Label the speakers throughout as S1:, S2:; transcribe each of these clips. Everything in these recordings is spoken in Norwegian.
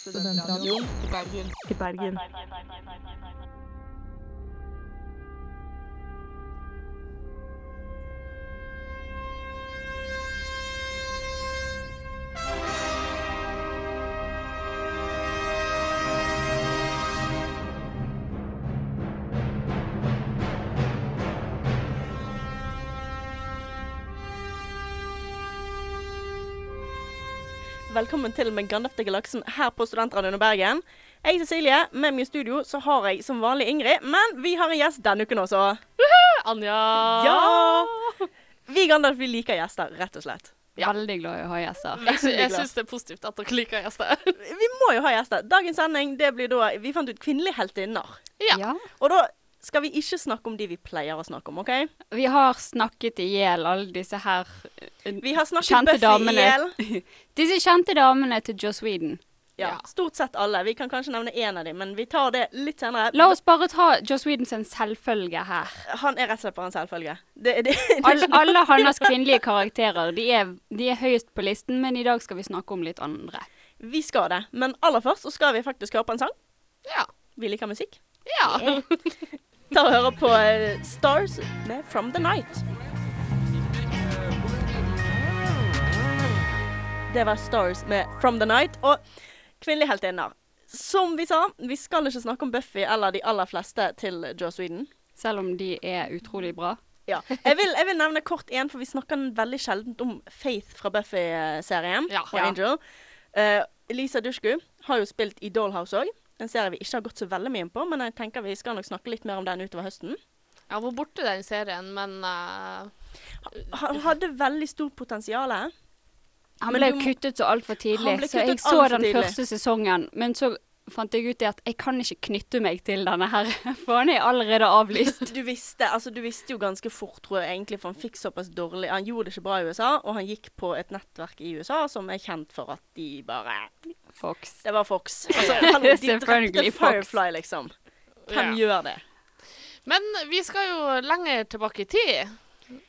S1: Studentradioen i Bergen.
S2: til Bergen.
S3: Velkommen til med Grand Theft Auto Galaksen her på Studentradioen i Bergen. Jeg er Cecilie. Med meg i studio så har jeg som vanlig Ingrid, men vi har en gjest denne uken også.
S4: Anja!
S3: Ja! Vi i Grand Theft, vi liker gjester, rett og slett.
S4: Veldig glad i å ha gjester. Jeg, sy
S3: Veldig
S4: jeg
S3: glad.
S4: syns det er positivt at dere liker gjester.
S3: Vi må jo ha gjester. Dagens sending det blir da Vi fant ut kvinnelige heltinner.
S4: Ja.
S3: Og da skal vi ikke snakke om de vi pleier å snakke om, OK?
S2: Vi har snakket i hjel alle disse her eh,
S3: Vi har snakket
S2: kjente
S3: Buffy i hjel.
S2: Disse kjente damene til Joss Whedon.
S3: Ja,
S4: Ja.
S3: stort sett alle. Vi kan kanskje nevne én av dem, men vi tar det litt senere.
S2: La oss bare ta Joss Whedon sin selvfølge her.
S3: Han er rett og slett bare en selvfølge. Det, det,
S2: Alle, alle hans kvinnelige karakterer. De er, de er høyest på listen, men i dag skal vi snakke om litt andre.
S3: Vi skal det, men aller først så skal vi faktisk høre på en sang.
S4: Ja.
S3: Vi liker musikk.
S4: ja.
S3: Ta og høre på eh, Stars med From The Night. Det var Stars med From The Night og kvinnelige heltinner. Som vi sa, vi skal ikke snakke om Buffy eller de aller fleste til Joe Sweden.
S2: Selv om de er utrolig bra.
S3: Ja. Jeg, vil, jeg vil nevne kort én, for vi snakker veldig sjelden om Faith fra Buffy-serien.
S4: Ja.
S3: og
S4: Ja.
S3: Angel. Eh, Lisa Dushku har jo spilt i Dollhouse òg. En serie vi ikke har gått så veldig mye inn på, men jeg tenker vi skal nok snakke litt mer om den utover høsten.
S4: Jeg var borte den serien, men eh,
S3: Han hadde veldig stort potensial.
S2: Han
S3: Men du
S2: ble jo
S3: må-
S2: kuttet så altfor tidlig,
S3: Han ble
S2: så jeg
S3: kuttet
S2: så
S3: alt for
S2: den
S3: tidlig.
S2: første sesongen. Men så fant jeg ut det at jeg kan ikke knytte meg til denne her, for han er allerede avlyst.
S3: Du visste, altså, du visste jo ganske fort, tror jeg, egentlig, for han fikk såpass dårlig Han gjorde det ikke bra i USA, og han gikk på et nettverk i USA som er kjent for at de bare
S2: Fox.
S3: Det var Fox. Altså, hallo, de drepte
S2: Selvfølgelig Fox.
S3: Firefly, liksom. Hvem gjør det?
S4: Men vi skal jo lenger tilbake i tid,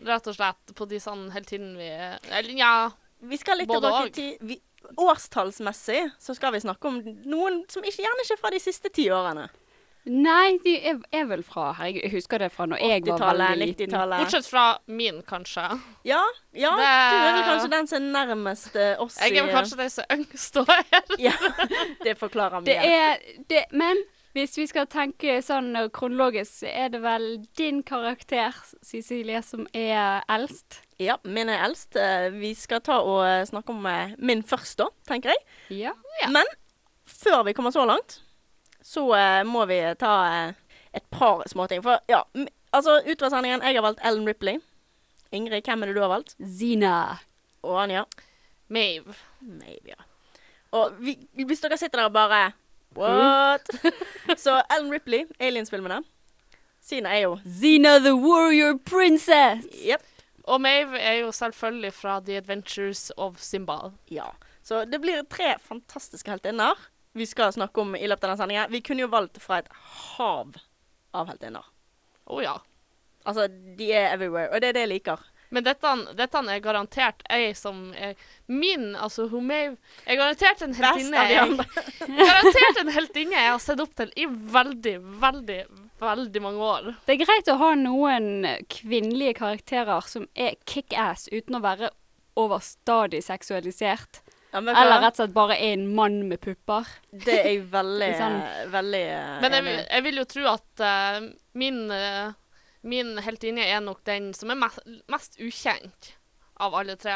S4: rett og slett, på de sånn hele tiden vi Eller ja.
S3: Vi skal litt
S4: Både
S3: tilbake
S4: og.
S3: til vi, Årstallsmessig så skal vi snakke om noen som ikke gjerne ikke er fra de siste ti årene.
S2: Nei, de er, er vel fra Herregud, jeg husker det fra når jeg var
S3: 80-tallet,
S2: veldig liten.
S3: 90-tallet.
S4: Bortsett fra min, kanskje.
S3: Ja, ja
S4: Det-
S3: du er vel kanskje den som er nærmest eh, oss
S4: Jeg er vel kanskje den som er yngst og her.
S3: ja, Det forklarer
S2: Det
S3: mye.
S2: er det, Men hvis vi skal tenke sånn eh, kronologisk, så er det vel din karakter, Cecilie, som er eldst.
S3: Ja, min er eldst. Eh, Vi skal ta og eh, snakke om eh, min først, da, tenker jeg.
S2: Ja.
S4: Ja.
S3: Men før vi kommer så langt, så eh, må vi ta eh, et par småting. For ja, m- altså utover sendingen, jeg har valgt Ellen Ripley. Ingrid, hvem er det du har valgt?
S2: Zina.
S3: Og Anja?
S4: Mave.
S3: Maybe, ja. Og vi, hvis dere sitter der og bare What? så Ellen Ripley, Aliens-filmene. Siden er jo
S2: Zina the warrior princess.
S3: Jepp.
S4: Og Mave er jo selvfølgelig fra The Adventures of Simbad.
S3: Ja. Så det blir tre fantastiske heltinner vi skal snakke om i løpet av den sendingen. Vi kunne jo valgt fra et hav av heltinner.
S4: Å ja.
S3: Altså, de er everywhere, og det er det jeg liker.
S4: Men dette, dette er garantert ei som er min, altså hun Mave er garantert en
S3: Best
S4: heltinne
S3: av de
S4: jeg-
S3: andre.
S4: Garantert en heltinne jeg har sett opp til i veldig, veldig, veldig mange år.
S2: Det er greit å ha noen kvinnelige karakterer som er kickass uten å være overstadig seksualisert.
S3: Ja, men
S2: Eller
S3: hva?
S2: rett og slett bare er en mann med pupper.
S3: Det er jeg veldig,
S2: Sånn.
S3: veldig eh,
S4: Men
S3: enig
S4: jeg,
S3: i.
S4: vil- jeg vil jo tro at eh, min, eh, min heltinne er nok den som er mest, mest ukjent av alle tre.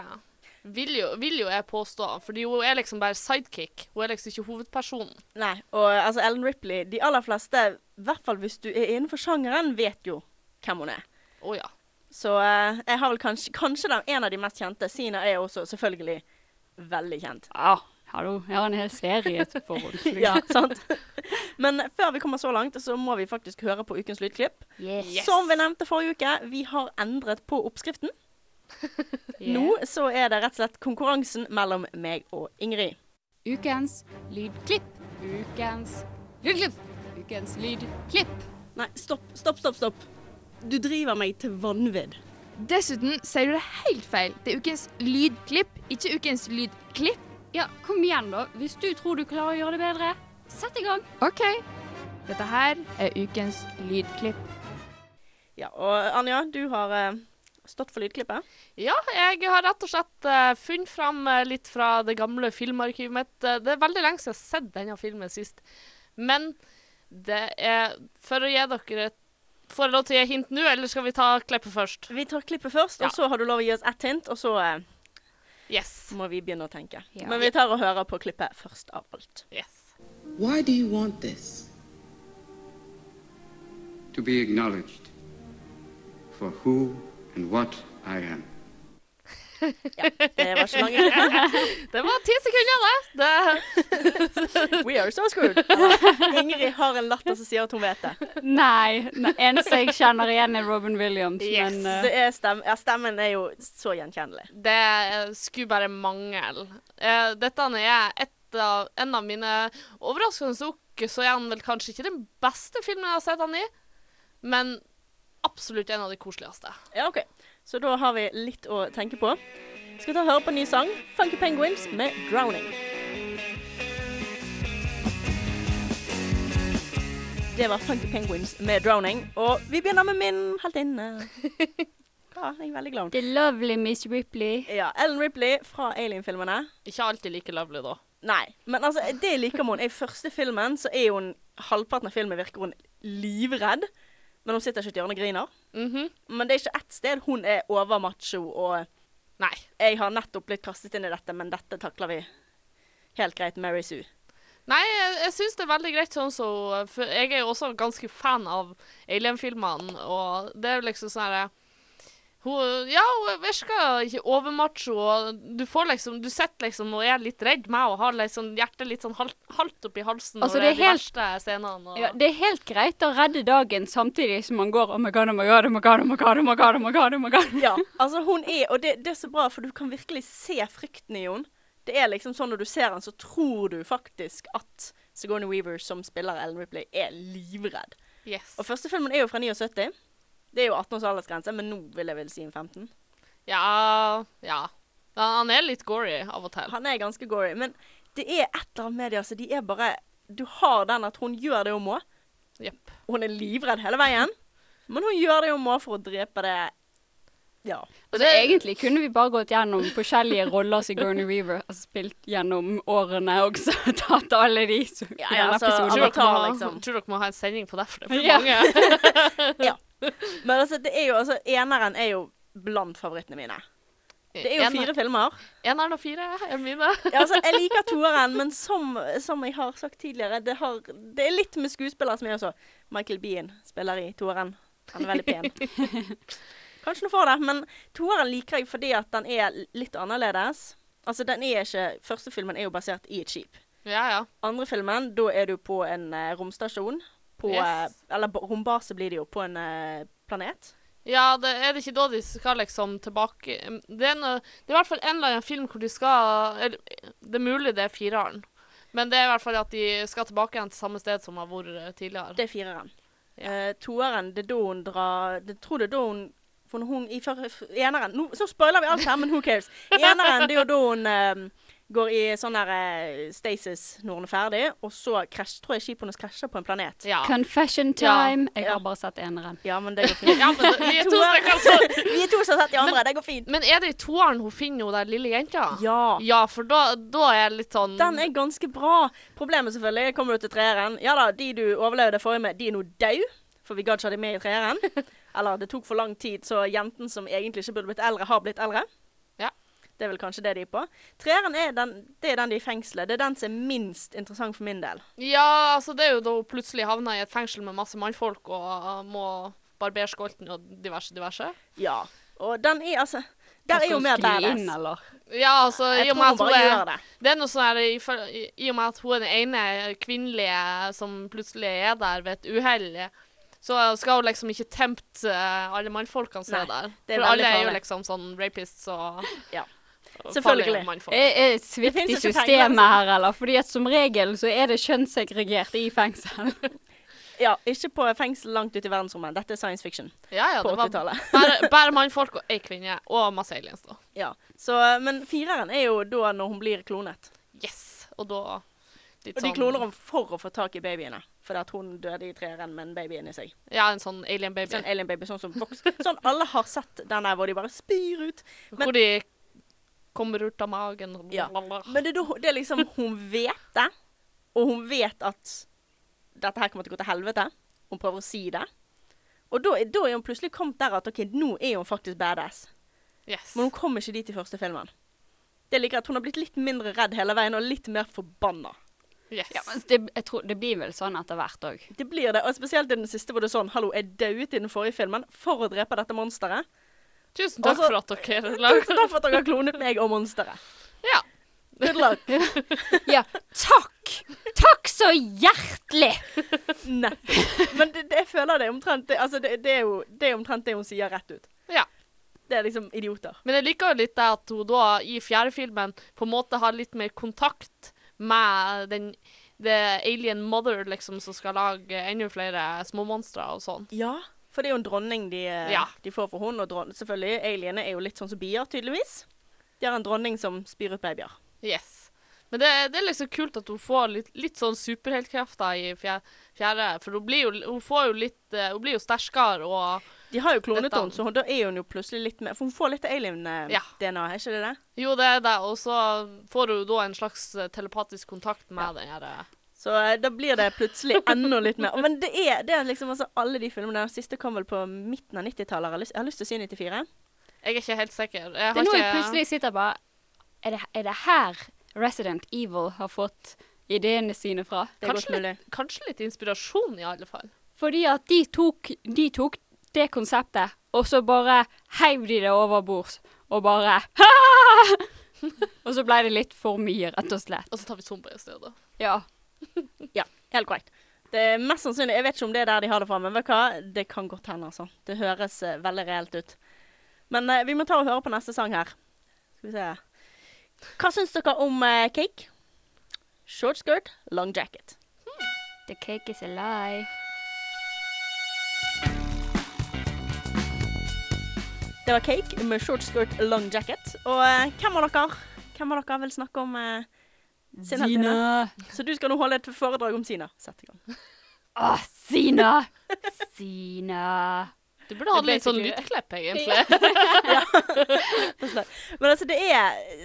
S4: Vil jo, vil jo jeg påstå, fordi hun er liksom bare sidekick. Hun er liksom ikke hovedpersonen.
S3: Nei, og altså Ellen Ripley De aller fleste, i hvert fall hvis du er innenfor sjangeren, vet jo hvem hun er.
S4: Å ja.
S3: Så eh, jeg har vel kanskje, kanskje den, en av de mest kjente. Sina er også selvfølgelig veldig kjent.
S2: Ja, hallo. Jeg har en hel serie liksom. for henne.
S3: Ja, sant? Men før vi kommer så langt, så må vi faktisk høre på ukens lydklipp.
S4: Yes.
S3: Som vi nevnte forrige uke, vi har endret på oppskriften. Nå så er det rett og slett konkurransen mellom meg og Ingrid.
S2: Ukens lydklipp. Ukens lydklipp. Ukens lydklipp.
S3: Nei, stopp, stopp, stopp. stopp. Du driver meg til vanvidd.
S5: Dessuten sier du det helt feil. Det er ukens lydklipp, ikke ukens lydklipp.
S2: Ja, kom igjen, da. Hvis du tror du klarer å gjøre det bedre, sett i gang.
S5: OK. Dette her er ukens lydklipp.
S3: Ja, og Anja, du har eh, stått for lydklippet.
S4: Ja, jeg har rett og slett eh, funnet fram eh, litt fra det gamle filmarkivet mitt. Eh, det er veldig lenge siden jeg har sett denne filmen sist. Men det er For å gi dere et Får jeg lov til å gi hint nå, eller skal vi ta klippet først?
S3: Vi tar klippet først,
S4: Ja.
S3: og så har du lov å gi oss ett hint, og så eh,
S4: Yes.
S3: må vi begynne å tenke.
S5: Ja.
S3: Men vi tar og hører på klippet først av alt.
S4: yes.
S6: Why do you want this?
S7: to be acknowledged for who and what I am.
S3: Det var ikke mange.
S4: Det var ti sekunder, det. det.
S3: We are so screwed. Ingrid har en latter som sier at hun vet det.
S2: Nei. Den eneste jeg kjenner igjen, er Robin Williams.
S4: Yes.
S2: Men
S3: det
S2: eh,
S3: er stem ja, stemmen er jo så gjenkjennelig.
S4: Det eh, skulle bare mangle. Eh, dette er et av, en av mine Overraskende nok så er han vel kanskje ikke den beste filmen jeg har sett han i, men absolutt en av de koseligste.
S3: Ja, OK. Så da har vi litt å tenke på. Skal vi ta og høre på en ny sang? Funky Penguins med 'Drowning'. Det var Funky Penguins med 'Drowning'. Og vi begynner med min heltinne. Ja, jeg er veldig glad.
S2: The Lovely Miss Ripley.
S3: Ja, Ellen Ripley fra Alien-filmene.
S4: Ikke alltid like lovely, da.
S3: Nei, men altså, det liker man. I første filmen så er hun halvparten av filmen virker hun livredd. Men hun sitter ikke i et hjørne og griner.
S4: Mhm.
S3: Men det er ikke ett sted hun er overmacho og
S4: Nei.
S3: Jeg har nettopp blitt kastet inn i dette, men dette takler vi helt greit. Mary Sue.
S4: Nei, jeg, jeg syns det er veldig greit sånn så For jeg er jo også ganske fan av Alien-filmene, og det er jo liksom sånn herre hun, ja, hun virker ikke overmacho, og du får liksom Du sitter liksom og er litt redd meg og har liksom hjertet litt sånn halvt, halvt oppi halsen
S2: Altså,
S4: når
S2: det
S4: det
S2: er
S4: er de
S2: helt-
S4: verste scenene. Og,
S2: Ja, det er helt greit å redde dagen samtidig som man går Oh my god, oh my god, oh my god, oh my god, oh my god, oh my god, oh my god.
S3: Ja, altså hun er Og det, det er så bra, for du kan virkelig se frykten i henne. Det er liksom sånn når du ser henne, så tror du faktisk at Sigourney Weaver, som spiller Ellen Ripley, er livredd.
S4: Yes.
S3: Og første filmen er jo fra 79. Det er jo 18 års aldersgrense, men nå vil jeg vel si en 15.
S4: Ja, ja. Han han er litt gory av og til.
S3: Han er ganske gory, men det er et eller annet med det, altså. De er bare Du har den at hun gjør det hun må.
S4: Jepp.
S3: Hun er livredd hele veien, men hun gjør det hun må for å drepe det Ja.
S2: Altså,
S4: Eh.
S2: egentlig kunne vi bare gått gjennom forskjellige roller som Gurney Reaver har spilt gjennom årene, og så tatt alle de som
S3: Ja,
S2: i
S3: ja,
S2: denne
S3: altså,
S2: episoden.
S4: Tror dere, må,
S3: Avatar, liksom.
S4: liksom. tror dere må ha en sending på det, for det blir
S2: Ja.
S4: mange.
S3: Men altså, det er jo altså Eneren er jo blant favorittene mine. Det er jo fire filmer.
S4: Eneren og fire er mine.
S3: Ja, altså, jeg liker toeren, men som, som jeg har sagt tidligere, det, har, det er litt med skuespillere som jeg også Michael Bean spiller i toeren. Han er veldig pen. Kanskje noe for det, men toeren liker jeg fordi at den er litt annerledes. Altså, den er ikke Første filmen er jo basert i et skip.
S4: Ja, ja.
S3: Andre filmen, da er du på en eh, romstasjon. På,
S4: Yes.
S3: eh, eller ba- rombase blir det jo, på en eh, planet.
S4: Ja, det er det ikke da de skal liksom tilbake Det er, noe, det er i hvert fall en eller annen film hvor de skal eller, Det er mulig det er fireren. Men det er i hvert fall at de skal tilbake igjen til samme sted som har vært eh, tidligere.
S3: Det er fireren. Eh, toeren, det er da hun drar det, Tror det er da hun For når hun i før, f- eneren nå, Så spoiler vi alt her, men who cares? I eneren, det er jo da hun eh, går i sånn der eh, stasis når hun er ferdig, og så krasj, tror jeg skipet hennes krasjer på en planet.
S4: Ja.
S2: Confession
S4: Ja,
S2: time. Jeg
S3: ja.
S2: har bare sett eneren.
S3: Ja, men det går fint.
S4: ja, men det- vi er to
S3: Toeren-
S4: stykker, altså.
S3: vi er to som har sett de andre. Det går fint.
S4: Men er det i toeren hun finner hun der lille jenta?
S3: Ja.
S4: Ja, for da, da er jeg litt sånn
S3: Den er ganske bra. Problemet selvfølgelig kommer du til treeren. Ja da, de du overlevde forrige med, de er nå dau, for vi gadd ikke ha de med i treeren. Eller det tok for lang tid, så jenten som egentlig ikke burde blitt eldre, har blitt eldre.
S4: Ja.
S3: Det er vel kanskje det de er på. Treeren er den, det er den de er i fengselet. Det er den som er minst interessant for min del.
S4: Ja, altså, det er jo da hun plutselig havner i et fengsel med masse mannfolk og eh, må barbere skolten og diverse, diverse.
S3: Ja. Og den er altså Der
S2: Skal
S3: er jo
S2: hun
S3: mer
S2: skli
S3: badass.
S2: inn, eller?
S4: Ja, altså, i
S3: Jeg tror
S4: og
S3: hun
S4: med at hun
S3: bare
S4: er
S3: gjør det.
S4: Det er noe sånn her, i for- i, I og med at hun er den ene kvinnelige som plutselig er der ved et uhell, så skal hun liksom ikke tempt eh, alle mannfolkene som
S3: Nei,
S4: er der.
S3: det er veldig
S4: For alle er jo
S3: farlig.
S4: liksom sånn rapists og
S3: Ja.
S4: og
S3: Selvfølgelig.
S4: farlige mannfolk.
S2: Er, er svikt i
S3: finnes jo ikke
S2: systemet
S3: penger,
S2: her, eller? Fordi at som regel så er det kjønnssegregert i fengsel.
S3: Ja, ikke på fengsel langt ute i verdensrommet. Dette er science fiction.
S4: Ja, ja,
S3: på
S4: det var
S3: 80-tallet.
S4: bare, bare mannfolk og ei kvinne, og masse aliens, da.
S3: Ja. Så, men fireren er jo da når hun blir klonet.
S4: og da litt
S3: Og
S4: sånn-
S3: de kloner om for å få tak i babyene. Fordi at hun døde i treeren med en baby inni seg.
S4: Ja, en sånn alien-baby.
S3: Sånn alien baby, sånn som vokser. Sånn alle har sett den der hvor de bare spyr ut. men-
S4: Hvor de kommer ut av magen og
S3: Ja.
S4: blablabla.
S3: Men det, er da- det er liksom Hun vet det, og hun vet at dette her kommer til å gå til helvete. Hun prøver å si det. Og da, er- da er hun plutselig kommet der at OK, nå er hun faktisk badass.
S4: Yes.
S3: Men hun kom ikke dit i første filmen. Det ligger at Hun har blitt litt mindre redd hele veien og litt mer forbanna.
S4: yes.
S2: Ja, men det, jeg tror, det blir vel sånn etter hvert òg.
S3: Det blir det, og Spesielt i den siste hvor det er sånn Hallo, jeg dauet i den forrige filmen for å drepe dette monsteret.
S4: Tusen takk
S3: Altså-
S4: for at dere
S3: Tusen
S4: lager
S3: takk for at dere har klonet meg og monsteret.
S4: Ja.
S3: Good luck.
S2: Ja, takk! Takk så hjertelig!
S3: Nettopp. Men det, det, jeg føler det er omtrent det, altså det, det, er jo, det er omtrent det hun sier rett ut.
S4: Ja.
S3: Det er liksom idioter.
S4: Men jeg liker jo litt det at hun da i fjerde filmen på en måte har litt mer kontakt med den the alien mother liksom som skal lage enda flere småmonstre og sånn.
S3: Ja, for det er jo en dronning de, eh,
S4: Ja.
S3: de får for henne. Og dron selvfølgelig, aliene er jo litt sånn som bier, tydeligvis. De har en dronning som spyr ut babyer.
S4: Yes. Men det, det er liksom kult at hun får litt, litt sånn superheltkrefter i fjer- fjerde, for hun blir jo, hun får jo litt eh, Hun blir jo sterkere og
S3: De har jo klonet
S4: Dette han.
S3: henne, så hun- da er hun jo plutselig litt mer For hun får litt eh,
S4: Ja.
S3: alien-DNA, er ikke det det?
S4: Jo, det er det, og så får hun da en slags eh, telepatisk kontakt med den her eh,
S3: Så eh, da blir det plutselig enda litt mer. Men det er, det er liksom altså alle de filmene. Den siste kom vel på midten av 90-tallet. har jeg lyst- Jeg har lyst til å si 94.
S4: Jeg er ikke helt sikker.
S2: Det
S4: Jeg har
S2: er nå jeg
S4: ikke
S2: plutselig sitter bare er det, er det her Resident Evil har fått ideene sine fra?
S3: Det er
S4: Kanskje
S3: godt mulig.
S4: litt, kanskje litt inspirasjon, i alle fall.
S2: Fordi at de tok, de tok det konseptet, og så bare heiv de det over bords, og bare Og så ble det litt for mye, rett og slett.
S4: Og så tar vi zombier i stedet.
S2: Ja.
S3: Helt korrekt. Det er mest sannsynlig, Jeg vet ikke om det er der de har det fra, men vet du hva? det kan godt hende. altså. Det høres eh, veldig reelt ut. Men eh, vi må ta og høre på neste sang her. Skal vi se. Hva syns dere om eh, cake? Short skirt, long jacket.
S2: The cake is a lie.
S3: Det var cake med short skirt, long jacket. Og eh, hvem av dere Hvem av dere vil snakke om eh, sin heltinne? Så du skal nå holde et foredrag om Sina. Sett i gang.
S2: Å, Sina! Sina.
S4: Du burde hatt
S3: Det
S4: litt sånn
S3: basically-
S4: lydklipp, egentlig.
S3: Men altså, det er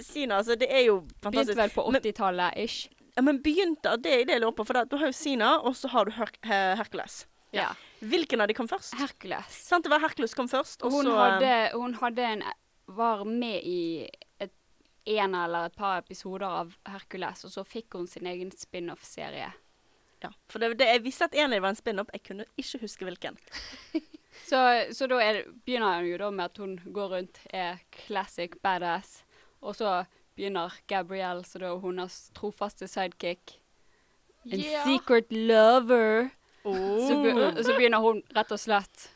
S3: Sina. Altså, det er jo fantastisk.
S2: Begynte vel på
S3: Men-
S2: 80-tallet, ish.
S3: Ja, men begynte det er det jeg lurer på, for da, du har jo Sina, og så har du Her Her- Hercules.
S2: Ja.
S3: Hvilken av de kom først?
S2: Hercules.
S3: Sant, det var Hercules kom først, og
S2: Hun
S3: så eh,
S2: hadde, hun hadde en Var med i et, en eller et par episoder av Hercules, og så fikk hun sin egen spin-off-serie.
S3: ja, For det, det, jeg visste at en av dem var en spin-up, jeg kunne ikke huske hvilken.
S2: Så, så da er, det- begynner hun jo da med at hun går rundt, er classic badass, og så begynner Gabrielle, så da er hun hennes trofaste sidekick. En secret lover.
S3: Oh.
S2: Så, be,
S4: Mm.
S2: så begynner hun rett og slett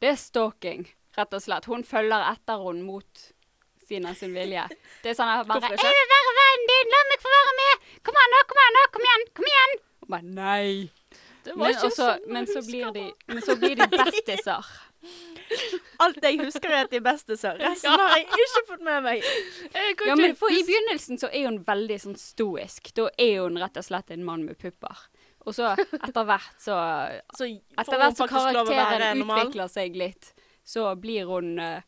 S2: Det er stalking, rett og slett. Hun følger etter henne mot Sina sin vilje. Det er sånn at bare
S3: Hvorfor
S2: 'Jeg
S3: ikke?
S2: vil være vennen din! La meg få være med! Kom an, nå! Kom an, nå! Kom igjen! Kom igjen!' Hun bare nei. altså,
S4: Det var
S2: Men,
S4: ikke
S2: også,
S4: sånn
S2: men,
S4: jeg
S2: så
S4: husker
S2: blir de,
S4: det.
S2: men så blir de bestiser.
S3: Alt jeg husker, er at de beste sa. Resten har jeg ikke fått med meg.
S4: Jeg kan
S2: Ja,
S4: ikke
S2: men for I
S4: huske-
S2: begynnelsen så er hun veldig sånn stoisk. Da er hun rett og slett en mann med pupper. Og så etter hvert så
S3: Så Altså, får
S2: Etter
S3: hun
S2: hvert som
S3: faktisk lov å være
S2: karakteren
S3: normal.
S2: utvikler seg litt, så blir hun eh,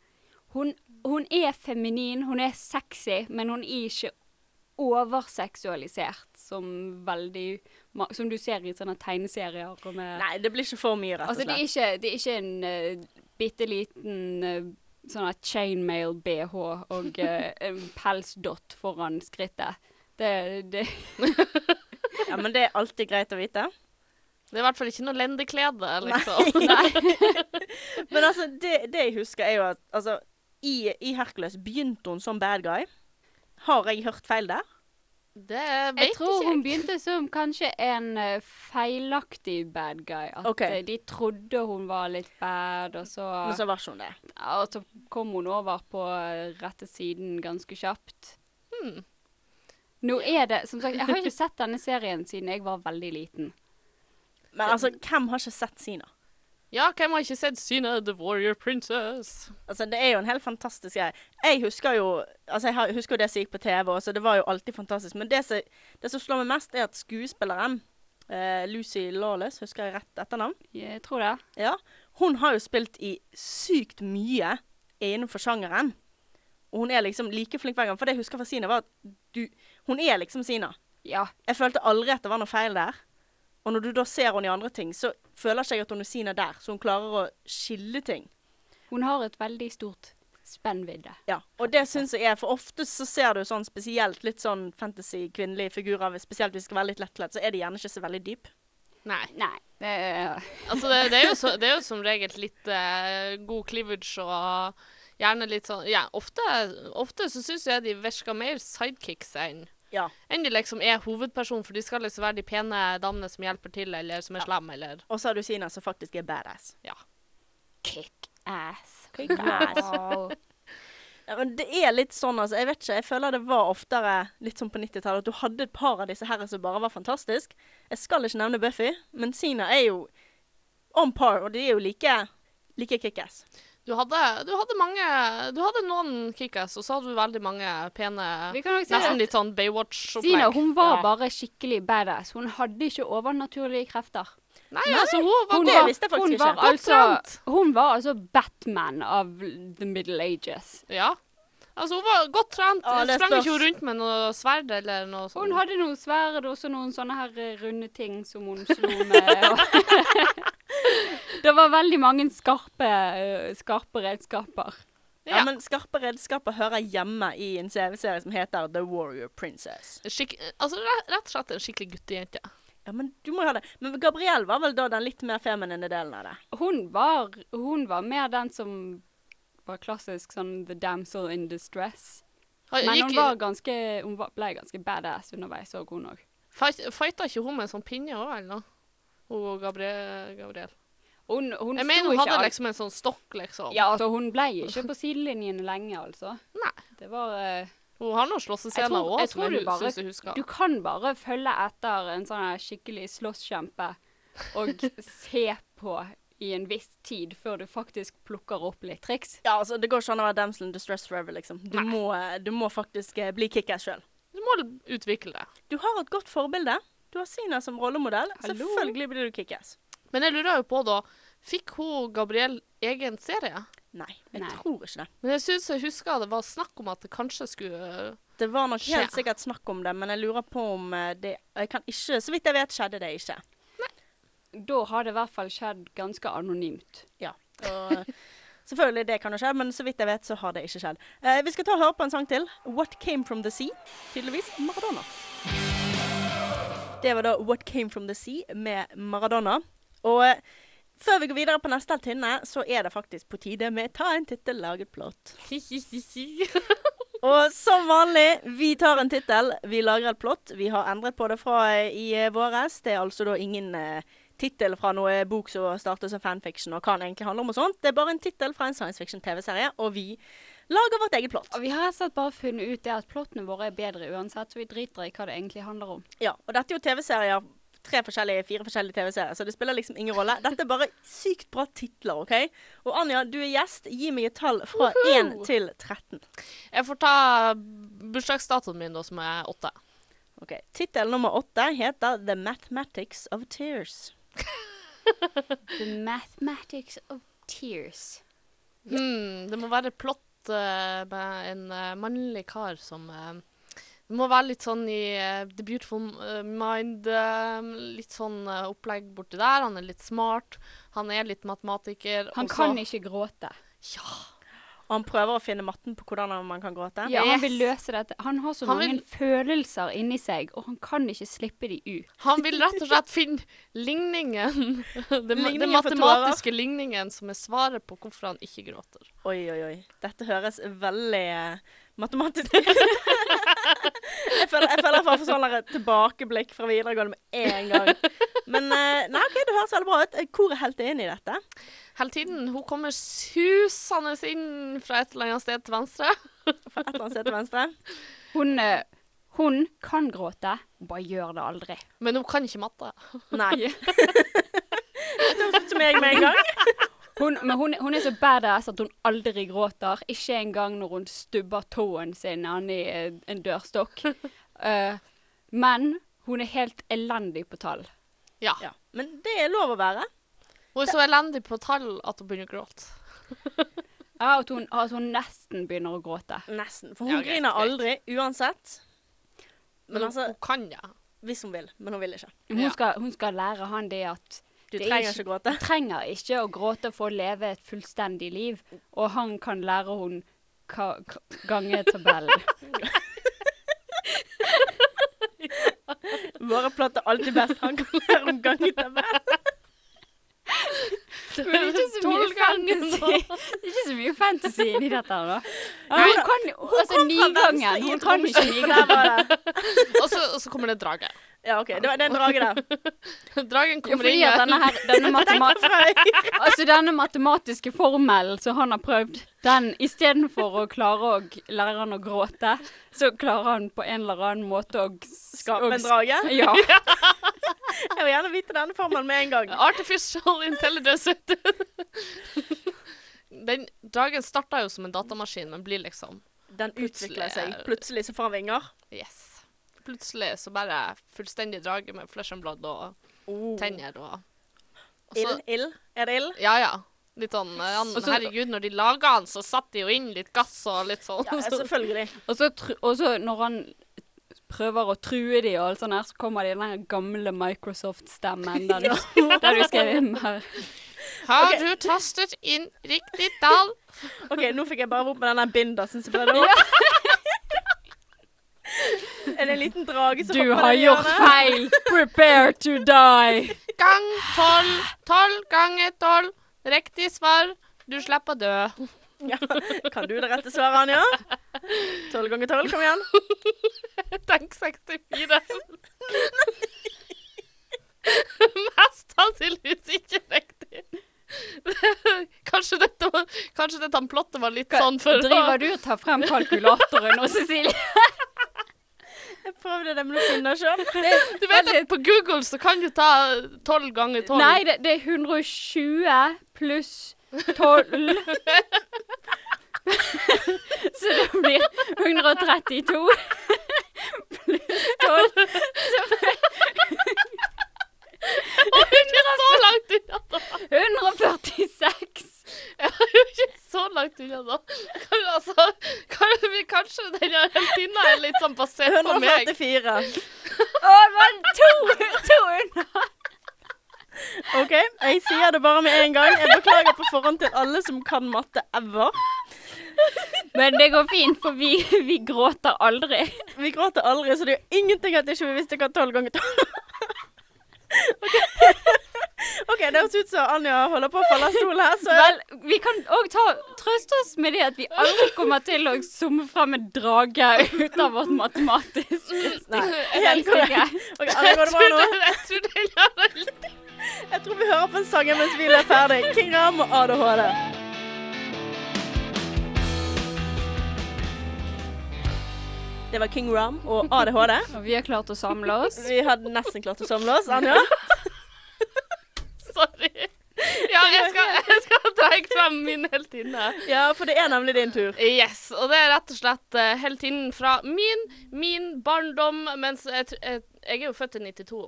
S2: hun, hun er feminin, hun er sexy, men hun er ikke overseksualisert, som veldig ma- Som du ser i sånne tegneserier. Og med,
S3: Nei, det blir ikke for mye, rett og
S2: altså, det er
S3: slett.
S2: ikke, det er ikke en uh, bitte liten sånn her chainmail-BH og eh, en pelsdott foran skrittet. Det, det
S3: Ja, men det er alltid greit å vite.
S4: Det er i hvert fall ikke noe lendeklede, liksom.
S3: Men altså, det, det jeg husker, er jo at altså, i, i Hercules begynte hun som bad guy. Har jeg hørt feil der?
S4: Det vet
S2: Jeg tror
S4: ikke.
S2: hun begynte som kanskje en eh, feilaktig bad guy. At
S3: Ok.
S2: eh, de trodde hun var litt bad, og så,
S3: Men så var ikke hun det.
S2: ja, og så kom hun over på eh, rette siden ganske kjapt.
S4: Hmm.
S2: Nå er det, som sagt, Jeg har ikke sett denne serien siden jeg var veldig liten.
S3: Men altså, hvem har ikke sett Sina?
S4: Ja, hvem har ikke sett Syna the Warrior Princess?
S3: Altså, det er jo en helt fantastisk greie. Jeg husker jo altså jeg har- husker jo det som gikk på TV, og så det var jo alltid fantastisk. Men det som, det som slår meg mest, er at skuespilleren, eh, Lucy Lawless, husker jeg rett etternavn?
S2: Jeg tror det.
S3: Ja. Hun har jo spilt i sykt mye innenfor sjangeren. Og hun er liksom like flink hver gang. For det jeg husker fra Sina, var at du Hun er liksom Sina.
S2: Ja.
S3: Jeg følte aldri at det var noe feil der. Og når du da ser henne i andre ting, så føler ikke jeg at hun er Sina der. Så hun klarer å skille ting.
S2: Hun har et veldig stort spennvidde.
S3: Ja, og det syns jeg er For ofte så ser du sånn spesielt litt sånn fantasy kvinnelige figurer, hvis- spesielt hvis de skal være litt lettkledd, så er de gjerne ikke så veldig dyp.
S4: Nei.
S2: Nei, det er
S4: Altså, det, det, er jo så, det er jo som regel litt eh, god cleavage og gjerne litt sånn Ja, ofte, ofte så syns jeg de virker mer sidekicks enn
S3: Ja.
S4: enn de liksom er hovedperson, for de skal liksom være de pene damene som hjelper til, eller som er slem, eller
S3: Og så har du Sina, som faktisk er badass.
S4: Ja.
S2: kickass.
S3: Kickass.
S2: Wow.
S3: Ja, men det er litt sånn, altså. Jeg vet ikke, jeg føler det var oftere litt sånn på 90-tallet at du hadde et par av disse herre som bare var fantastisk. Jeg skal ikke nevne Buffy, men Sina er jo on par, og de er jo like, like kickass.
S4: Du hadde, du hadde mange Du hadde noen kickass, og så hadde du veldig mange pene
S2: Vi kan nok si
S4: Nesten
S2: det.
S4: litt sånn Baywatch-opplegg.
S2: Sina hun var
S4: Ja.
S2: bare skikkelig badass. Hun hadde ikke overnaturlige krefter.
S4: Nei, altså, hun var
S2: Hun
S3: det
S2: var,
S3: visste jeg faktisk
S2: hun var
S3: ikke.
S4: Godt
S2: altså, hun var altså Batman av the middle ages.
S4: Ja. Altså, hun var godt trent.
S3: Ja, det
S4: Sprang
S3: spørs.
S4: ikke hun rundt med noe sverd eller noe sånt?
S2: Hun hadde noen sverd og så noen sånne her eh, runde ting som hun slo med. Og det var veldig mange skarpe, eh, skarpe redskaper.
S3: Ja,
S4: Ja.
S3: men skarpe redskaper hører hjemme i en CV-serie som heter The Warrior Princess.
S4: Skikk, altså, rett, rett og slett en skikkelig guttejente.
S3: Ja, men du må jo ha det. Men Gabrielle var vel da den litt mer feminine delen av det.
S2: Hun var, hun var mer den som var klassisk sånn the damsel in distress.
S4: Har-
S2: Men hun,
S4: gikk-
S2: var ganske, hun var, ble ganske badass underveis òg, hun òg.
S4: fight, Fighta ikke hun med en sånn pinne òg, eller noe? Hun og Gabriel. Gabriel.
S2: Hun, hun
S4: Jeg
S2: sto
S4: mener hun
S2: ikke
S4: hadde
S2: alt-
S4: liksom en sånn stokk, liksom.
S2: Ja, altså, hun ble ikke på sidelinjen lenge, altså.
S4: Nei.
S2: Det var eh,
S4: Hun har noen
S2: Jeg
S4: slåssescener
S2: tror-
S4: òg,
S2: jeg
S4: som
S2: tror du
S4: jeg hu-
S2: bare-
S4: synes jeg husker.
S2: Du kan bare følge etter en sånn her skikkelig slåsskjempe og se på i en viss tid før du faktisk plukker opp litt triks.
S3: Ja, altså, det går ikke an å være damsel in distress forever, liksom. Du, må, du må faktisk eh, bli kickass sjøl.
S4: Du må utvikle det.
S3: Du har et godt forbilde. Du har Sina som rollemodell.
S2: Hallo?
S3: Selvfølgelig blir du kickass.
S4: Men jeg lurer jo på, da Fikk hun Gabriel egen serie?
S3: Nei, jeg
S2: Nei.
S3: tror ikke det.
S4: Men jeg syns jeg husker det var snakk om at det kanskje skulle eh,
S3: Det var nok helt
S4: Skjer.
S3: sikkert snakk om det, men jeg lurer på om eh, det Jeg kan ikke Så vidt jeg vet, skjedde det ikke.
S2: Da har det i hvert fall skjedd ganske anonymt.
S3: Ja. Og, selvfølgelig, det kan jo skje, men så vidt jeg vet, så har det ikke skjedd. Eh, vi skal ta og høre på en sang til. 'What Came From The Sea'. Tydeligvis Maradona. Det var da 'What Came From The Sea' med Maradona. Og eh, før vi går videre på neste altinne, så er det faktisk på tide med 'Ta en tittel, lag et plott'. Og som vanlig, vi tar en tittel, vi lager et plott. Vi har endret på det fra eh, i eh, våres. Det er altså da ingen eh, tittel fra noe bok som starter som fanfiction og kan egentlig handle om og sånt. Det er bare en tittel fra en science fiction TV-serie, og vi lager vårt eget plott.
S2: Og vi har rett og slett bare funnet ut det at plottene våre er bedre uansett, så vi driter i hva det egentlig handler om.
S3: Ja, og dette er jo TV-serier, tre forskjellige, fire forskjellige TV-serier, så det spiller liksom ingen rolle. Dette er bare sykt bra titler, OK? Og Anja, du er gjest. Gi meg et tall fra 1 til 13.
S4: Jeg får ta bursdagsdatoen min, da, som er åtte.
S3: Ok, Tittel nummer åtte heter 'The Mathematics of Tears'.
S2: The mathematics of tears.
S4: Hmm, det må være plott eh, med en eh, mannlig kar som eh, Det må være litt sånn i eh, The Beautiful eh, Mind eh, Litt sånn eh, opplegg borti der. Han er litt smart. Han er litt matematiker.
S2: Han
S4: og så-
S2: kan ikke gråte.
S4: Ja,
S3: Og han prøver å finne matten på hvordan man kan gråte.
S2: Ja, han
S4: Yes.
S2: vil løse dette. Han har så
S4: Han
S2: mange
S4: vil-
S2: følelser inni seg, og han kan ikke slippe de ut.
S4: han vil rett og slett finne ligningen. Den
S3: Ligningen for
S4: matematiske ligningen som er svaret på hvorfor han ikke gråter.
S3: Oi, oi, oi. Dette høres veldig eh, matematisk ut. jeg føler jeg føler jeg får sånn der tilbakeblikk fra videregående med en gang. Men eh, nei, ok, det høres veldig bra ut. Eh, Hvor er heltet inn i dette?
S4: Hele tiden. Hun kommer susende inn fra et eller annet sted til venstre.
S3: Fra et eller annet sted til venstre.
S2: Hun, eh, hun kan gråte, bare gjør det aldri.
S4: Men hun kan ikke matte.
S3: Nei. det høres ut som meg med en gang.
S2: Hun, men hun, hun er så badass at hun aldri gråter. Ikke engang når hun stubber tåen sin an i eh, en dørstokk. Eh, men hun er helt elendig på tall.
S4: Ja.
S3: Ja. Men det er lov å være.
S4: Hun er så elendig på tall at hun begynner å gråte.
S2: Ja, At hun, at hun nesten begynner å gråte.
S3: Nesten. For
S4: Ja,
S3: hun
S4: greit,
S3: griner
S4: greit.
S3: aldri, uansett.
S4: Men
S3: Men altså,
S4: hun kan det.
S3: hvis hun vil. Men hun vil ikke.
S2: Hun,
S4: Ja.
S2: skal, hun skal lære han det at
S3: Du
S2: Det er
S3: trenger
S2: ikke-
S3: ikke gråte.
S2: trenger ikke å gråte for å leve et fullstendig liv, og han kan lære hun ka, ka, gangetabellen.
S3: Våre plater er alltid best. Han kan lære om gangetabell.
S2: Men ikke så mye
S4: Tolv ganger nå.
S2: fantasy Ikke så mye fantasy inni dette her, da.
S3: Ja,
S2: Hun
S3: da.
S2: kan jo Altså,
S3: kom fra venstre
S2: nigangen.
S3: i
S2: Hun
S3: et
S2: kan ikke
S3: romskip, og
S2: nigangen.
S3: Der var det.
S4: Og så, og så kommer det en drage.
S3: Ja, OK. Det var det er en drage der.
S2: Ja,
S4: Dragen kommer
S2: fordi at
S4: inn.
S2: denne, her, denne, matemat altså, denne matematiske formelen som han har prøvd, den istedenfor å klare å g- lære han å gråte, så klarer han på en eller annen måte å g-
S3: Skape
S2: å
S3: en
S2: s-
S3: drage.
S2: Ja.
S3: Jeg vil gjerne vite denne formelen med en gang.
S4: Artificial intelligence. vet du. Den dragen starta jo som en datamaskin, men blir liksom
S3: Den utvikler seg. Plutselig så får han vinger.
S4: Yes. Plutselig så bare fullstendig drage med flesh and blood og
S3: Oh.
S4: tenner og, og så,
S3: Ild? Ild? Er det ild?
S4: Ja, ja. Litt sånn eh, han,
S2: Og så-
S4: Herregud, når de laga han, så satt de jo inn litt gass og litt sånn.
S3: Ja, altså,
S4: så,
S3: selvfølgelig.
S2: Og så, tru- og så når han prøver å true de og alt sånt her, så kommer det den her gamle Microsoft-stemmen der, du- der du skrev inn her.
S4: Har
S3: Ok.
S4: du tastet inn riktig tall?
S3: OK, nå fikk jeg bare opp med den der bindersen som prøvde opp. Er det en liten drage som
S2: Du
S3: hopper
S2: har
S3: ned i
S2: gjort
S3: hjørnet?
S2: feil! Prepare to die!
S4: Gang tolv. Tolv ganger tolv. Riktig svar. Du slipper å dø.
S3: Ja. Kan du det rette svaret, Anja? Tolv ganger tolv, kom igjen.
S4: Tenk 64. Mest sannsynligvis ikke riktig. Kanskje dette, var- kanskje dette plottet var litt sånn for å-
S2: Driver du og tar frem kalkulatoren nå, Cecilie?
S3: Jeg prøvde det, men du finner sjøl.
S4: Du vet at på Google så kan du ta 12 ganger 12.
S2: Nei, det, det er 120 pluss 12. Så det blir 132 pluss 12.
S4: Jeg er ikke så
S2: altså-
S4: langt unna, da.
S2: 146.
S4: Jeg er jo ikke så langt unna, da. Kan, altså, kan, kanskje den her heltinna er litt sånn basert på meg.
S3: 144.
S2: Å, det var to, to under.
S3: OK, jeg sier det bare med en gang. Jeg beklager på forhånd til alle som kan matte ever.
S2: Men det går fint, for vi, vi gråter aldri.
S3: Vi gråter aldri, så det er jo ingenting at ikke vi visste hva tolv ganger tolv OK, det høres ut som Anja holder på å falle av stolen her, så
S2: Vel, vi kan òg trøste oss med det at vi aldri kommer til å summe frem en drage ut av vårt matematiske
S3: Nei, helt korrekt.
S2: helsike.
S3: Ok, Anja, går det bra nå?
S4: Jeg tror det gjør det litt
S3: Jeg tror vi hører på en sang mens vi er ferdig. King Ram og ADHD. Det var King Ram og ADHD.
S2: Og vi har klart å samle oss.
S3: Vi hadde nesten klart å samle oss. Anja?
S4: Sorry. Ja, jeg skal, jeg skal dra frem min heltinne.
S3: Ja, for det er nemlig din tur.
S4: Yes, og det er rett og slett eh, heltinnen fra min, min barndom, mens jeg, tr- jeg, jeg er jo født i 92.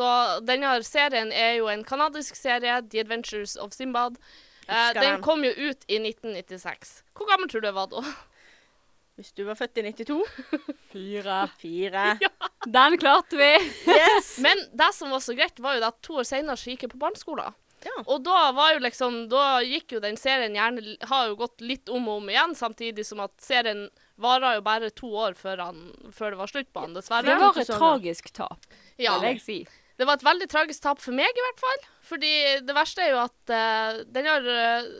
S4: Så denne her serien er jo en kanadisk serie, The Adventures of Simbad. Eh,
S3: Husker
S4: den
S3: den.
S4: kom jo ut i 1996. Hvor gammel tror du jeg var da?
S3: Hvis du var født i 92
S2: Fire.
S3: Fire.
S2: Den klarte vi.
S3: Yes.
S4: Men det som var så greit, var jo det at to år senere så gikk jeg på barneskolen.
S3: Ja.
S4: Og da var jo liksom, da gikk jo den serien gjerne, l- har jo gått litt om og om igjen, samtidig som at serien varer jo bare to år før, han, før det var slutt på han, dessverre.
S2: Det var et tragisk tap,
S4: Ja.
S2: vil jeg si.
S4: Det var et veldig tragisk tap for meg, i hvert fall. Fordi det verste er jo at eh, den her uh,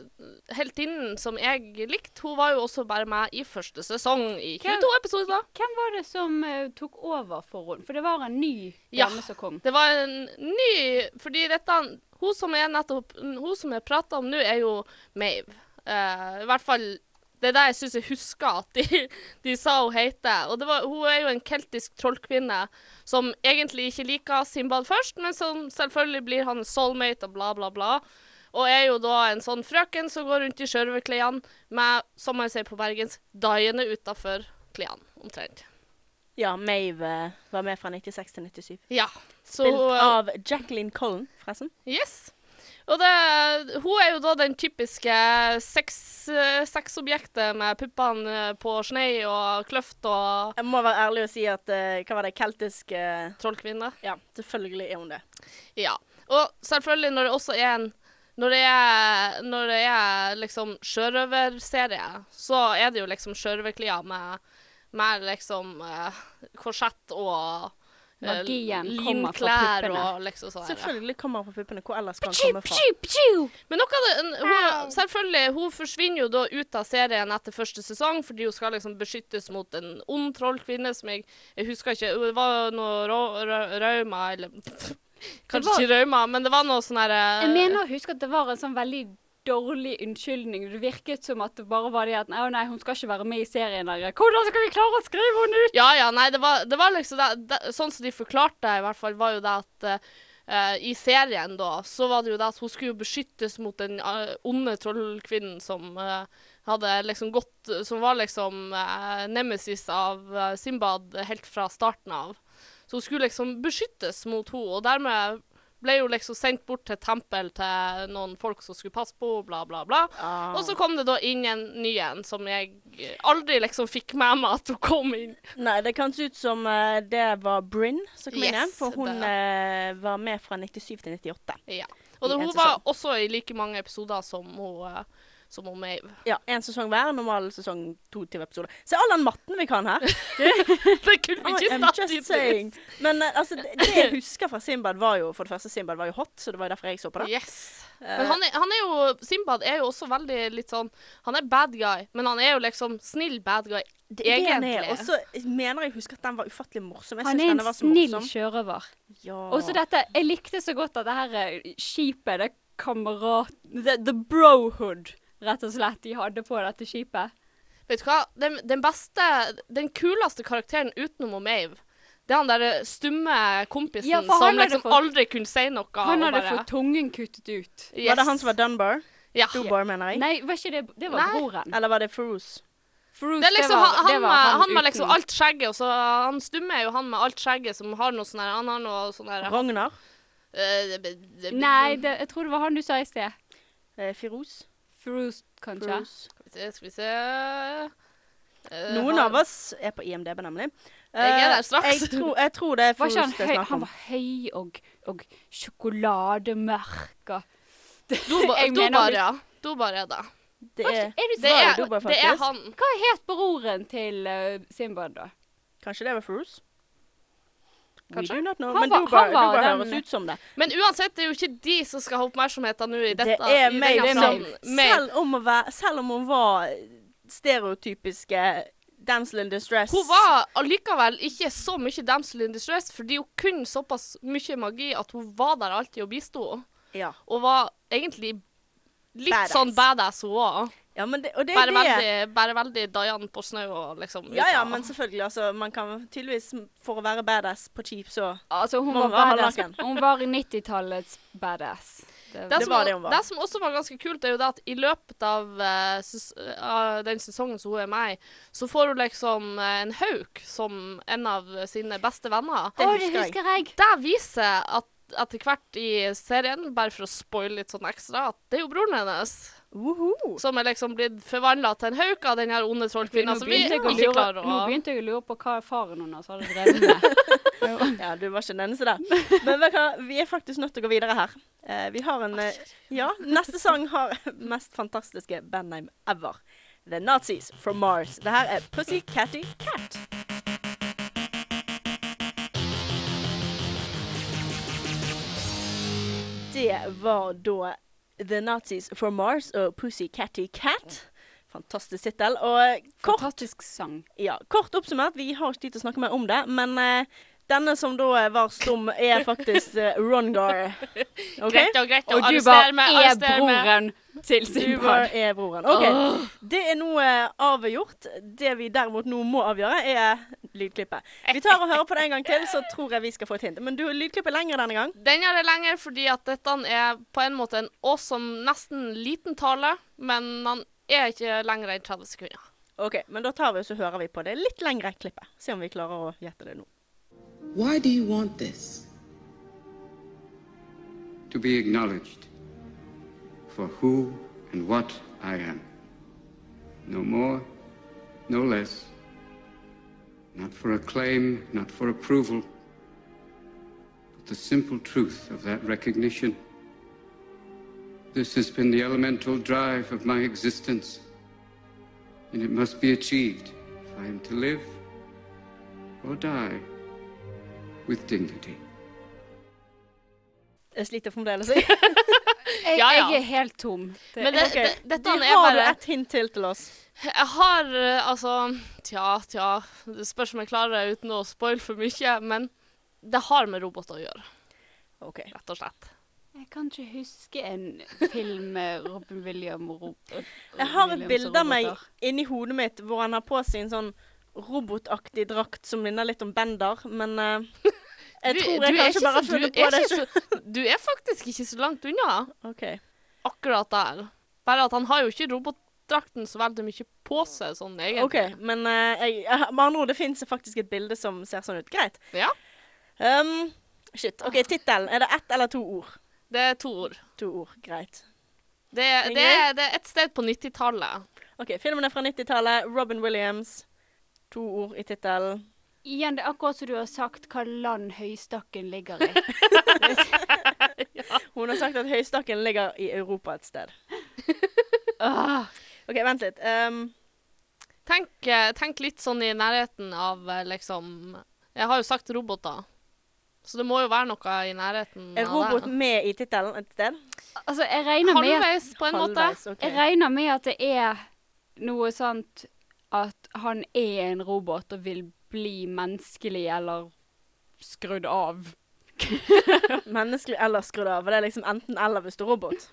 S4: heltinnen som jeg likte, hun var jo også bare med i første sesong i
S2: Hvem?
S4: 22 episoder.
S2: Hvem var det som eh, tok over for henne? For det var en ny
S4: Ja.
S2: dame som kom.
S4: Det var en ny Fordi dette Hun som jeg nettopp Hun som jeg prata om nå, er jo Mave. Eh, I hvert fall Det er det jeg syns jeg husker at de, de sa hun heter. Og det var, hun er jo en keltisk trollkvinne som egentlig ikke liker Simbad først, men som selvfølgelig blir hans soulmate og bla, bla, bla. Og er jo da en sånn frøken som går rundt i sjørøverklærne med, som man sier på bergens, daiene utafor klærne, omtrent.
S3: Ja, Mave eh, var med fra 96 til 97.
S4: Ja. Så
S3: Spilt
S4: hun- eh,
S3: av Jacqueline Collen, forresten.
S4: Yes. Og det, hun er jo da den typiske sex- eh, sexobjektet med puppene på snei og kløft og
S3: Jeg må være ærlig og si at eh, Hva var det? Keltisk eh,
S4: trollkvinne.
S3: Ja, selvfølgelig er hun det.
S4: Ja. Og selvfølgelig når det også er en Når det er, når det er liksom sjørøverserie, så er det jo liksom sjørøverklær med, med liksom eh, korsett og eh,
S2: Magien kommer fra
S4: linklær
S2: puppene.
S4: og liksom sånn. her.
S3: Selvfølgelig kommer han på puppene. Hvor ellers skal han komme fra?
S4: Men noe av det, en- hun, selvfølgelig, hun forsvinner jo da ut av serien etter første sesong, fordi hun skal liksom beskyttes mot en ond trollkvinne som jeg, jeg husker ikke Det var noe ra- ra- rauma, eller Kanskje
S2: var-
S4: ikke rauma, men det var noe sånn herre
S3: Eh.
S2: Jeg mener å huske at det var en sånn veldig dårlig unnskyldning. Det virket som at det bare var det at Å nei, hun skal ikke være med i serien der. Hvordan skal vi klare å skrive henne ut?
S4: Ja, ja, nei, det var, det var liksom det, det, Sånn som de forklarte det, i hvert fall, var jo det at eh, I serien, da, så var det jo det at hun skulle jo beskyttes mot den eh, onde trollkvinnen som eh, hadde liksom gått Som var liksom eh, nemesis av eh, Simbad helt fra starten av. Så hun skulle liksom beskyttes mot henne, og dermed ble hun liksom sendt bort til et tempel til noen folk som skulle passe på henne, bla, bla, bla.
S3: Ah.
S4: Og så kom det da inn en ny en som jeg aldri liksom fikk med meg at hun kom inn.
S3: Nei, det kan se ut som eh, det var Brynn som kom inn
S4: Yes,
S3: igjen, for hun
S4: det-
S3: eh, var med fra 97 til 98.
S4: Ja. Og
S3: I
S4: det,
S3: en
S4: hun var
S3: sesong.
S4: også i like mange episoder som hun, eh, som hun Mave.
S3: Ja, én sesong hver. Normal sesong to til episoder. Se all den matten vi kan her!
S4: Det kunne vi
S3: I
S4: ikke
S3: am
S4: snakke
S3: just
S4: ut
S3: saying. Men eh, altså, det, det jeg husker fra Simbad, var jo for det første Simbad var jo hot, så det var jo derfor jeg så på det.
S4: Yes.
S3: Eh.
S4: Men han er, han er jo Simbad er jo også veldig litt sånn Han er bad guy, men han er jo liksom snill bad guy,
S3: Det er det han er.
S4: egentlig.
S3: Og så mener jeg husker at den var ufattelig morsom. Jeg
S2: Han
S3: synes
S2: er
S3: denne
S2: en
S3: var så
S2: snill
S3: morsom.
S2: sjørøver.
S3: Ja.
S2: Også dette Jeg likte så godt at det her eh, skipet, det kamerat... The, the brohood, rett og slett, de hadde på dette skipet.
S4: Vet du hva? Den, den beste, den kuleste karakteren utenom Mave, det er han derre stumme kompisen
S2: Ja, for han
S4: som
S2: hadde
S4: liksom
S2: fått-
S4: aldri kunne si noe.
S2: Han
S4: og
S2: hadde
S4: bare-
S2: fått tungen kuttet ut.
S4: yes.
S3: Var det han som var Dunbar?
S4: ja.
S3: Dubar, mener jeg.
S2: Nei, var ikke det Det var
S4: Nei.
S2: broren.
S3: Eller var det Farouz?
S2: Fruit,
S4: Det er liksom, han, han, med- han med liksom
S2: uten-
S4: alt skjegget, og så han stumme er jo han med alt skjegget som har noe sånn her Han har noe sånn her
S3: Ragnar?
S4: eh, b- b-
S2: Nei, det, jeg tror det var han du sa i sted.
S3: Eh, Firouz?
S2: Fruit, kanskje.
S3: Farouz?
S4: Skal vi se, skal vi se Eh,
S3: Noen
S4: han-
S3: av oss er på IMDb, nemlig.
S4: Jeg er der
S3: Eh,
S4: straks.
S3: Jeg tror, jeg tror det er
S2: Var
S3: Farouz
S2: ikke han
S3: det er
S2: høy?
S3: snakk
S2: Han
S3: om.
S2: var høy og, og sjokolademørk og
S4: Doba-
S2: Jeg mener
S4: Dobar,
S2: litt-
S4: ja. Dobar er det.
S3: Det
S2: Var
S3: er,
S2: ikke- er du
S4: Det er,
S3: jo Dobar,
S4: det er
S3: faktisk.
S4: han.
S2: Hva het broren til eh, Simbad, da?
S3: kanskje det var Farouz?
S4: Kanskje.
S3: We do not know.
S2: Han
S3: Men
S2: var-
S3: Dubar,
S2: han var
S3: Dubar
S2: den-
S3: høres ut som det.
S4: Men uansett, det er jo ikke de som skal ha oppmerksomheten nå i dette.
S3: det er
S4: i
S3: Maeve
S4: denne
S3: som
S4: planen. Maeve.
S3: selv om, å være, selv om hun var stereotypiske damsel in distress
S4: Hun var allikevel ikke så mye damsel in distress, fordi hun kunne såpass mye magi at hun var der alltid og bisto.
S3: ja.
S4: og var egentlig litt
S3: Badass.
S4: sånn badass hun òg.
S3: ja, men det, og det er
S4: Bare,
S3: det
S4: veldig- bare veldig Diane på snø og liksom
S3: Ja,
S4: ut
S3: ja,
S4: av-
S3: men selvfølgelig. Altså, man kan tydeligvis, for å være badass på cheap, så
S2: Altså, hun
S3: Må
S2: var
S3: være
S2: badass.
S3: halvnaken.
S2: Hun var 90-tallets badass. Det-
S4: det,
S3: det
S4: som,
S3: var det hun var.
S4: det som også var ganske kult, er jo det at i løpet av, eh, ses av den sesongen som hun er med i, så får hun liksom eh, en hauk som en av sine beste venner.
S3: det
S2: Å,
S3: husker
S2: det
S3: jeg.
S2: husker jeg.
S4: Det viser at etter hvert i serien, bare for å spoile litt sånn ekstra, at det er jo broren hennes
S3: Woho!
S4: som er liksom blitt forvandla til en hauk av den her onde trollkvinna
S2: Nå
S4: som vi
S2: begynte jeg å
S4: ikke
S2: lure-
S4: klarer
S2: Nå
S4: å
S2: begynte jeg å lure på hva faren hennes hadde drevet med.
S3: Ja, du var ikke den eneste der. Men vet du hva, vi er faktisk nødt til å gå videre her. Eh, vi har en eh, Ja, neste sang har mest fantastiske bandname ever. The Nazis from Mars. Det her er Pussy Catty Cat. Det var da The Nazis from Mars og Pussy Catty Cat. Fantastisk tittel. Og kort
S2: Fantastisk sang.
S3: ja, Kort oppsummert, vi har ikke tid til å snakke mer om det, men eh, denne som da eh, var stum, er faktisk eh, Ron Gar. OK?
S4: Greit og greit.
S2: Og du
S4: arrester
S2: bare
S4: meg,
S2: er
S4: arrester meg.
S2: broren til
S3: Du
S2: Simbad.
S3: var- er broren. OK. Det er nå eh, avgjort. Det vi derimot nå må avgjøre, er lydklippet. Vi tar og hører på det en gang til, så tror jeg vi skal få et hint. Men du, lydklippet er lengre denne gang.
S4: Den er det lenger fordi at dette er på en måte en awesome, nesten liten tale, men han er ikke lenger enn 30 sekunder.
S3: OK, men da tar vi og så hører vi på det litt lengre klippet. Se om vi klarer å gjette det nå.
S6: Why do you want this?
S7: to be acknowledged for who and what I am. No more, no less. Not for acclaim, not for approval, but the simple truth of that recognition. This has been the elemental drive of my existence, and it must be achieved if I am to live or die with dignity.
S3: Jeg sliter fremdeles. Vi
S2: Jeg,
S4: Ja, ja.
S2: jeg er helt tom. Det,
S4: Men det,
S3: Ok,
S4: det, dette er
S3: har du
S4: bare
S3: et hint til til oss.
S4: Jeg har eh, altså Tja, tja. Det spørs om jeg klarer det uten å spoile for mye, men det har med roboter å gjøre,
S3: OK.
S4: rett og slett.
S2: jeg kan ikke huske en film med Robin William og Rob...
S3: Jeg har et bilde av meg inni hodet mitt hvor han har på seg en sånn robotaktig drakt som minner litt om Bender, men eh, jeg tror jeg kanskje bare har funnet på det sjøl.
S4: sjøl. Du er faktisk ikke så langt unna
S3: OK.
S4: akkurat der. Bare at han har jo ikke robotdrakten så veldig mye på seg, sånn
S3: ok,
S4: egentlig.
S3: Men eh, jeg, jeg- med andre ord, det fins faktisk et bilde som ser sånn ut. Greit.
S4: Ja.
S3: Um, shit.
S4: Ah.
S3: OK, tittelen. Er det ett eller to ord?
S4: Det er to ord.
S3: To ord. Greit.
S4: Det, det, er, det er et sted på 90-tallet.
S3: OK, filmen er fra 90-tallet. Robin Williams. To ord i tittelen.
S2: Igjen, det er akkurat som du har sagt hva land Høystakken ligger i.
S3: Hun har sagt at Høystakken ligger i Europa et sted.
S2: Åh,
S3: OK, vent litt. Um,
S4: Tenk, eh, tenk litt sånn i nærheten av eh, liksom Jeg har jo sagt roboter, så det må jo være noe i nærheten
S3: er
S4: av
S3: robot
S4: det.
S3: med i tittelen et sted?
S2: altså, jeg regner med at
S4: Halvveis, på en måte.
S3: Halvveis, ok.
S2: Jeg regner med at det er noe sånt at han er en robot og vil bli menneskelig eller skrudd av.
S3: Menneskelig eller skrudd av. og Det er liksom enten eller hvis du er robot.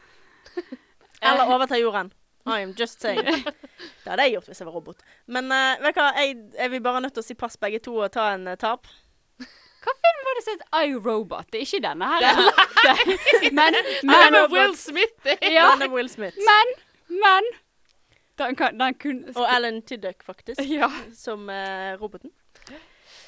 S3: Eller overta jorden. I am just saying. Det hadde jeg gjort hvis jeg var robot. Men eh, vet du hva, jeg, jeg vil bare nødt til å si pass begge to og ta en eh, tap.
S2: Hva film var det som het iRobot? Det er ikke denne her. Det- Men,
S4: Men
S2: men,
S4: med Will Smith det er-
S2: ja,
S3: Den er Will Smith.
S2: men, men Den, kan, den kunne
S3: Og Alan Tidduck, faktisk,
S2: Ja.
S3: som eh, roboten.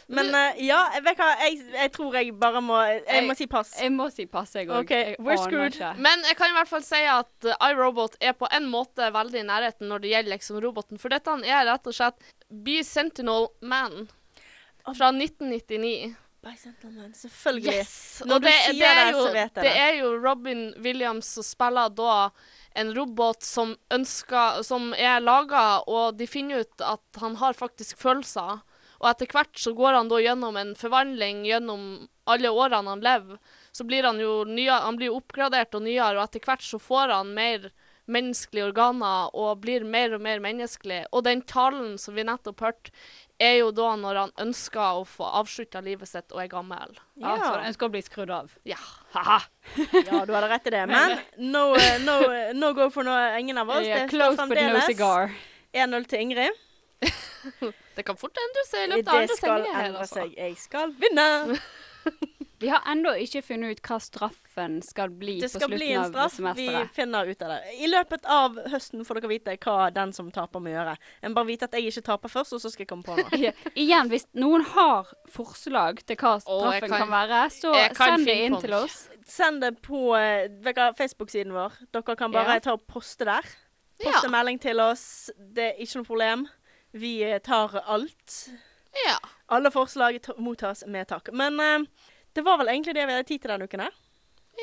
S3: Men eh, ja, vet du hva, jeg, jeg tror jeg bare må Jeg må si pass.
S2: Jeg må si pass, jeg òg.
S3: OK, we're screwed.
S4: Men jeg kan i hvert fall si at eh, iRobot er på en måte veldig i nærheten når det gjelder liksom roboten. For dette er rett og slett Be Sentinel Man fra 1999.
S3: Bicentennial Man, Selvfølgelig.
S4: Yes!
S3: Når
S4: Og
S3: du
S4: det,
S3: sier
S4: det, er
S3: det,
S4: jo,
S3: så vet jeg
S4: det
S3: det.
S4: er jo Robin Williams som spiller da en robot som ønsker Som er laga, og de finner ut at han har faktisk følelser. Og etter hvert så går han da gjennom en forvandling gjennom alle årene han lever. Så blir han jo nye, han blir oppgradert og nyere, og etter hvert så får han mer menneskelige organer og blir mer og mer menneskelig. Og den talen som vi nettopp hørte, er jo da når han ønsker å få avslutta livet sitt og er gammel.
S3: Ja.
S2: Ja. så den skal bli skrudd av.
S4: Ja.
S3: Ja, du hadde rett i det. Men no, eh, no, eh, no go for noe, ingen av oss.
S2: Ja,
S3: det
S2: close
S3: står
S2: but no
S3: fremdeles
S2: cigar.
S3: 1-0 til Ingrid.
S4: Det kan fort endre seg i løpet av
S3: Det
S4: andre
S3: skal
S4: sendinger her,
S3: endre
S4: altså.
S3: seg. Jeg skal vinne.
S2: Vi har ennå ikke funnet ut hva straffen skal bli
S3: Det
S2: på
S3: skal
S2: slutten
S3: bli en
S2: av
S3: straff. Vi
S2: semesteret.
S3: finner ut av det. I løpet av høsten får dere vite hva den som taper, må gjøre. En bare vite at jeg ikke taper først, og så skal jeg komme på noe.
S2: Ja. Igjen, hvis noen har forslag til hva
S4: jeg
S2: straffen
S4: kan-
S2: kan, være, så
S4: jeg kan
S2: send det
S4: finne
S2: inn
S4: på
S2: til
S4: det.
S2: oss.
S3: Send det på eh, vet dere, Facebook-siden vår. Dere kan bare
S2: Ja.
S3: ta og poste der. Post en melding til oss. Det er ikke noe problem. Vi eh, tar alt.
S4: Ja.
S3: Alle forslag ta- mottas med takk. Men eh, det var vel egentlig det vi hadde tid til denne uken her.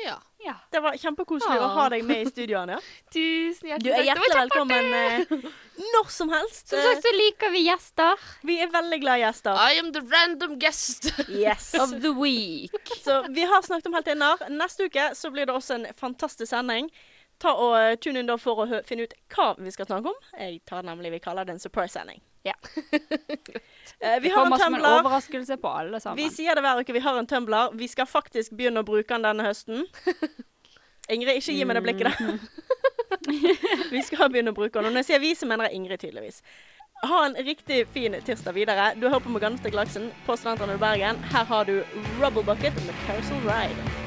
S4: ja.
S2: Ja.
S3: Det var kjempekoselig å
S4: Ah.
S3: ha deg med i studio, Anja.
S4: Tusen
S3: Du er
S4: hjertelig takk. Det var
S3: hjertelig velkommen eh, når som helst.
S2: Som sagt så liker vi gjester
S3: Eh, Vi er veldig glad i
S4: kjempe-
S3: gjester.
S4: I am the random guest.
S3: Yes.
S2: of the week.
S3: Så vi har snakket om heltinner. Neste uke så blir det også en fantastisk sending. Ta og eh, Tune inn da for å hø- finne ut hva vi skal snakke om. Jeg tar nemlig Vi kaller det en surprise-sending.
S2: Ja.
S3: Eh, Vi
S2: Det
S3: har en
S2: kommer som en
S3: tumbler.
S2: overraskelse på alle
S3: Vi
S2: sammen.
S3: sier det hver uke. Vi har en tumbler. Vi skal faktisk begynne å bruke den denne høsten. Ingrid, ikke gi meg det blikket der. vi skal begynne å bruke den. Og når jeg sier vi, så mener jeg Ingrid, tydeligvis. Ha en riktig fin tirsdag videre. Du hører på Morgante Glaksen på Studentene i Bergen. Her har du Rubble Bucket med Carousel Ride.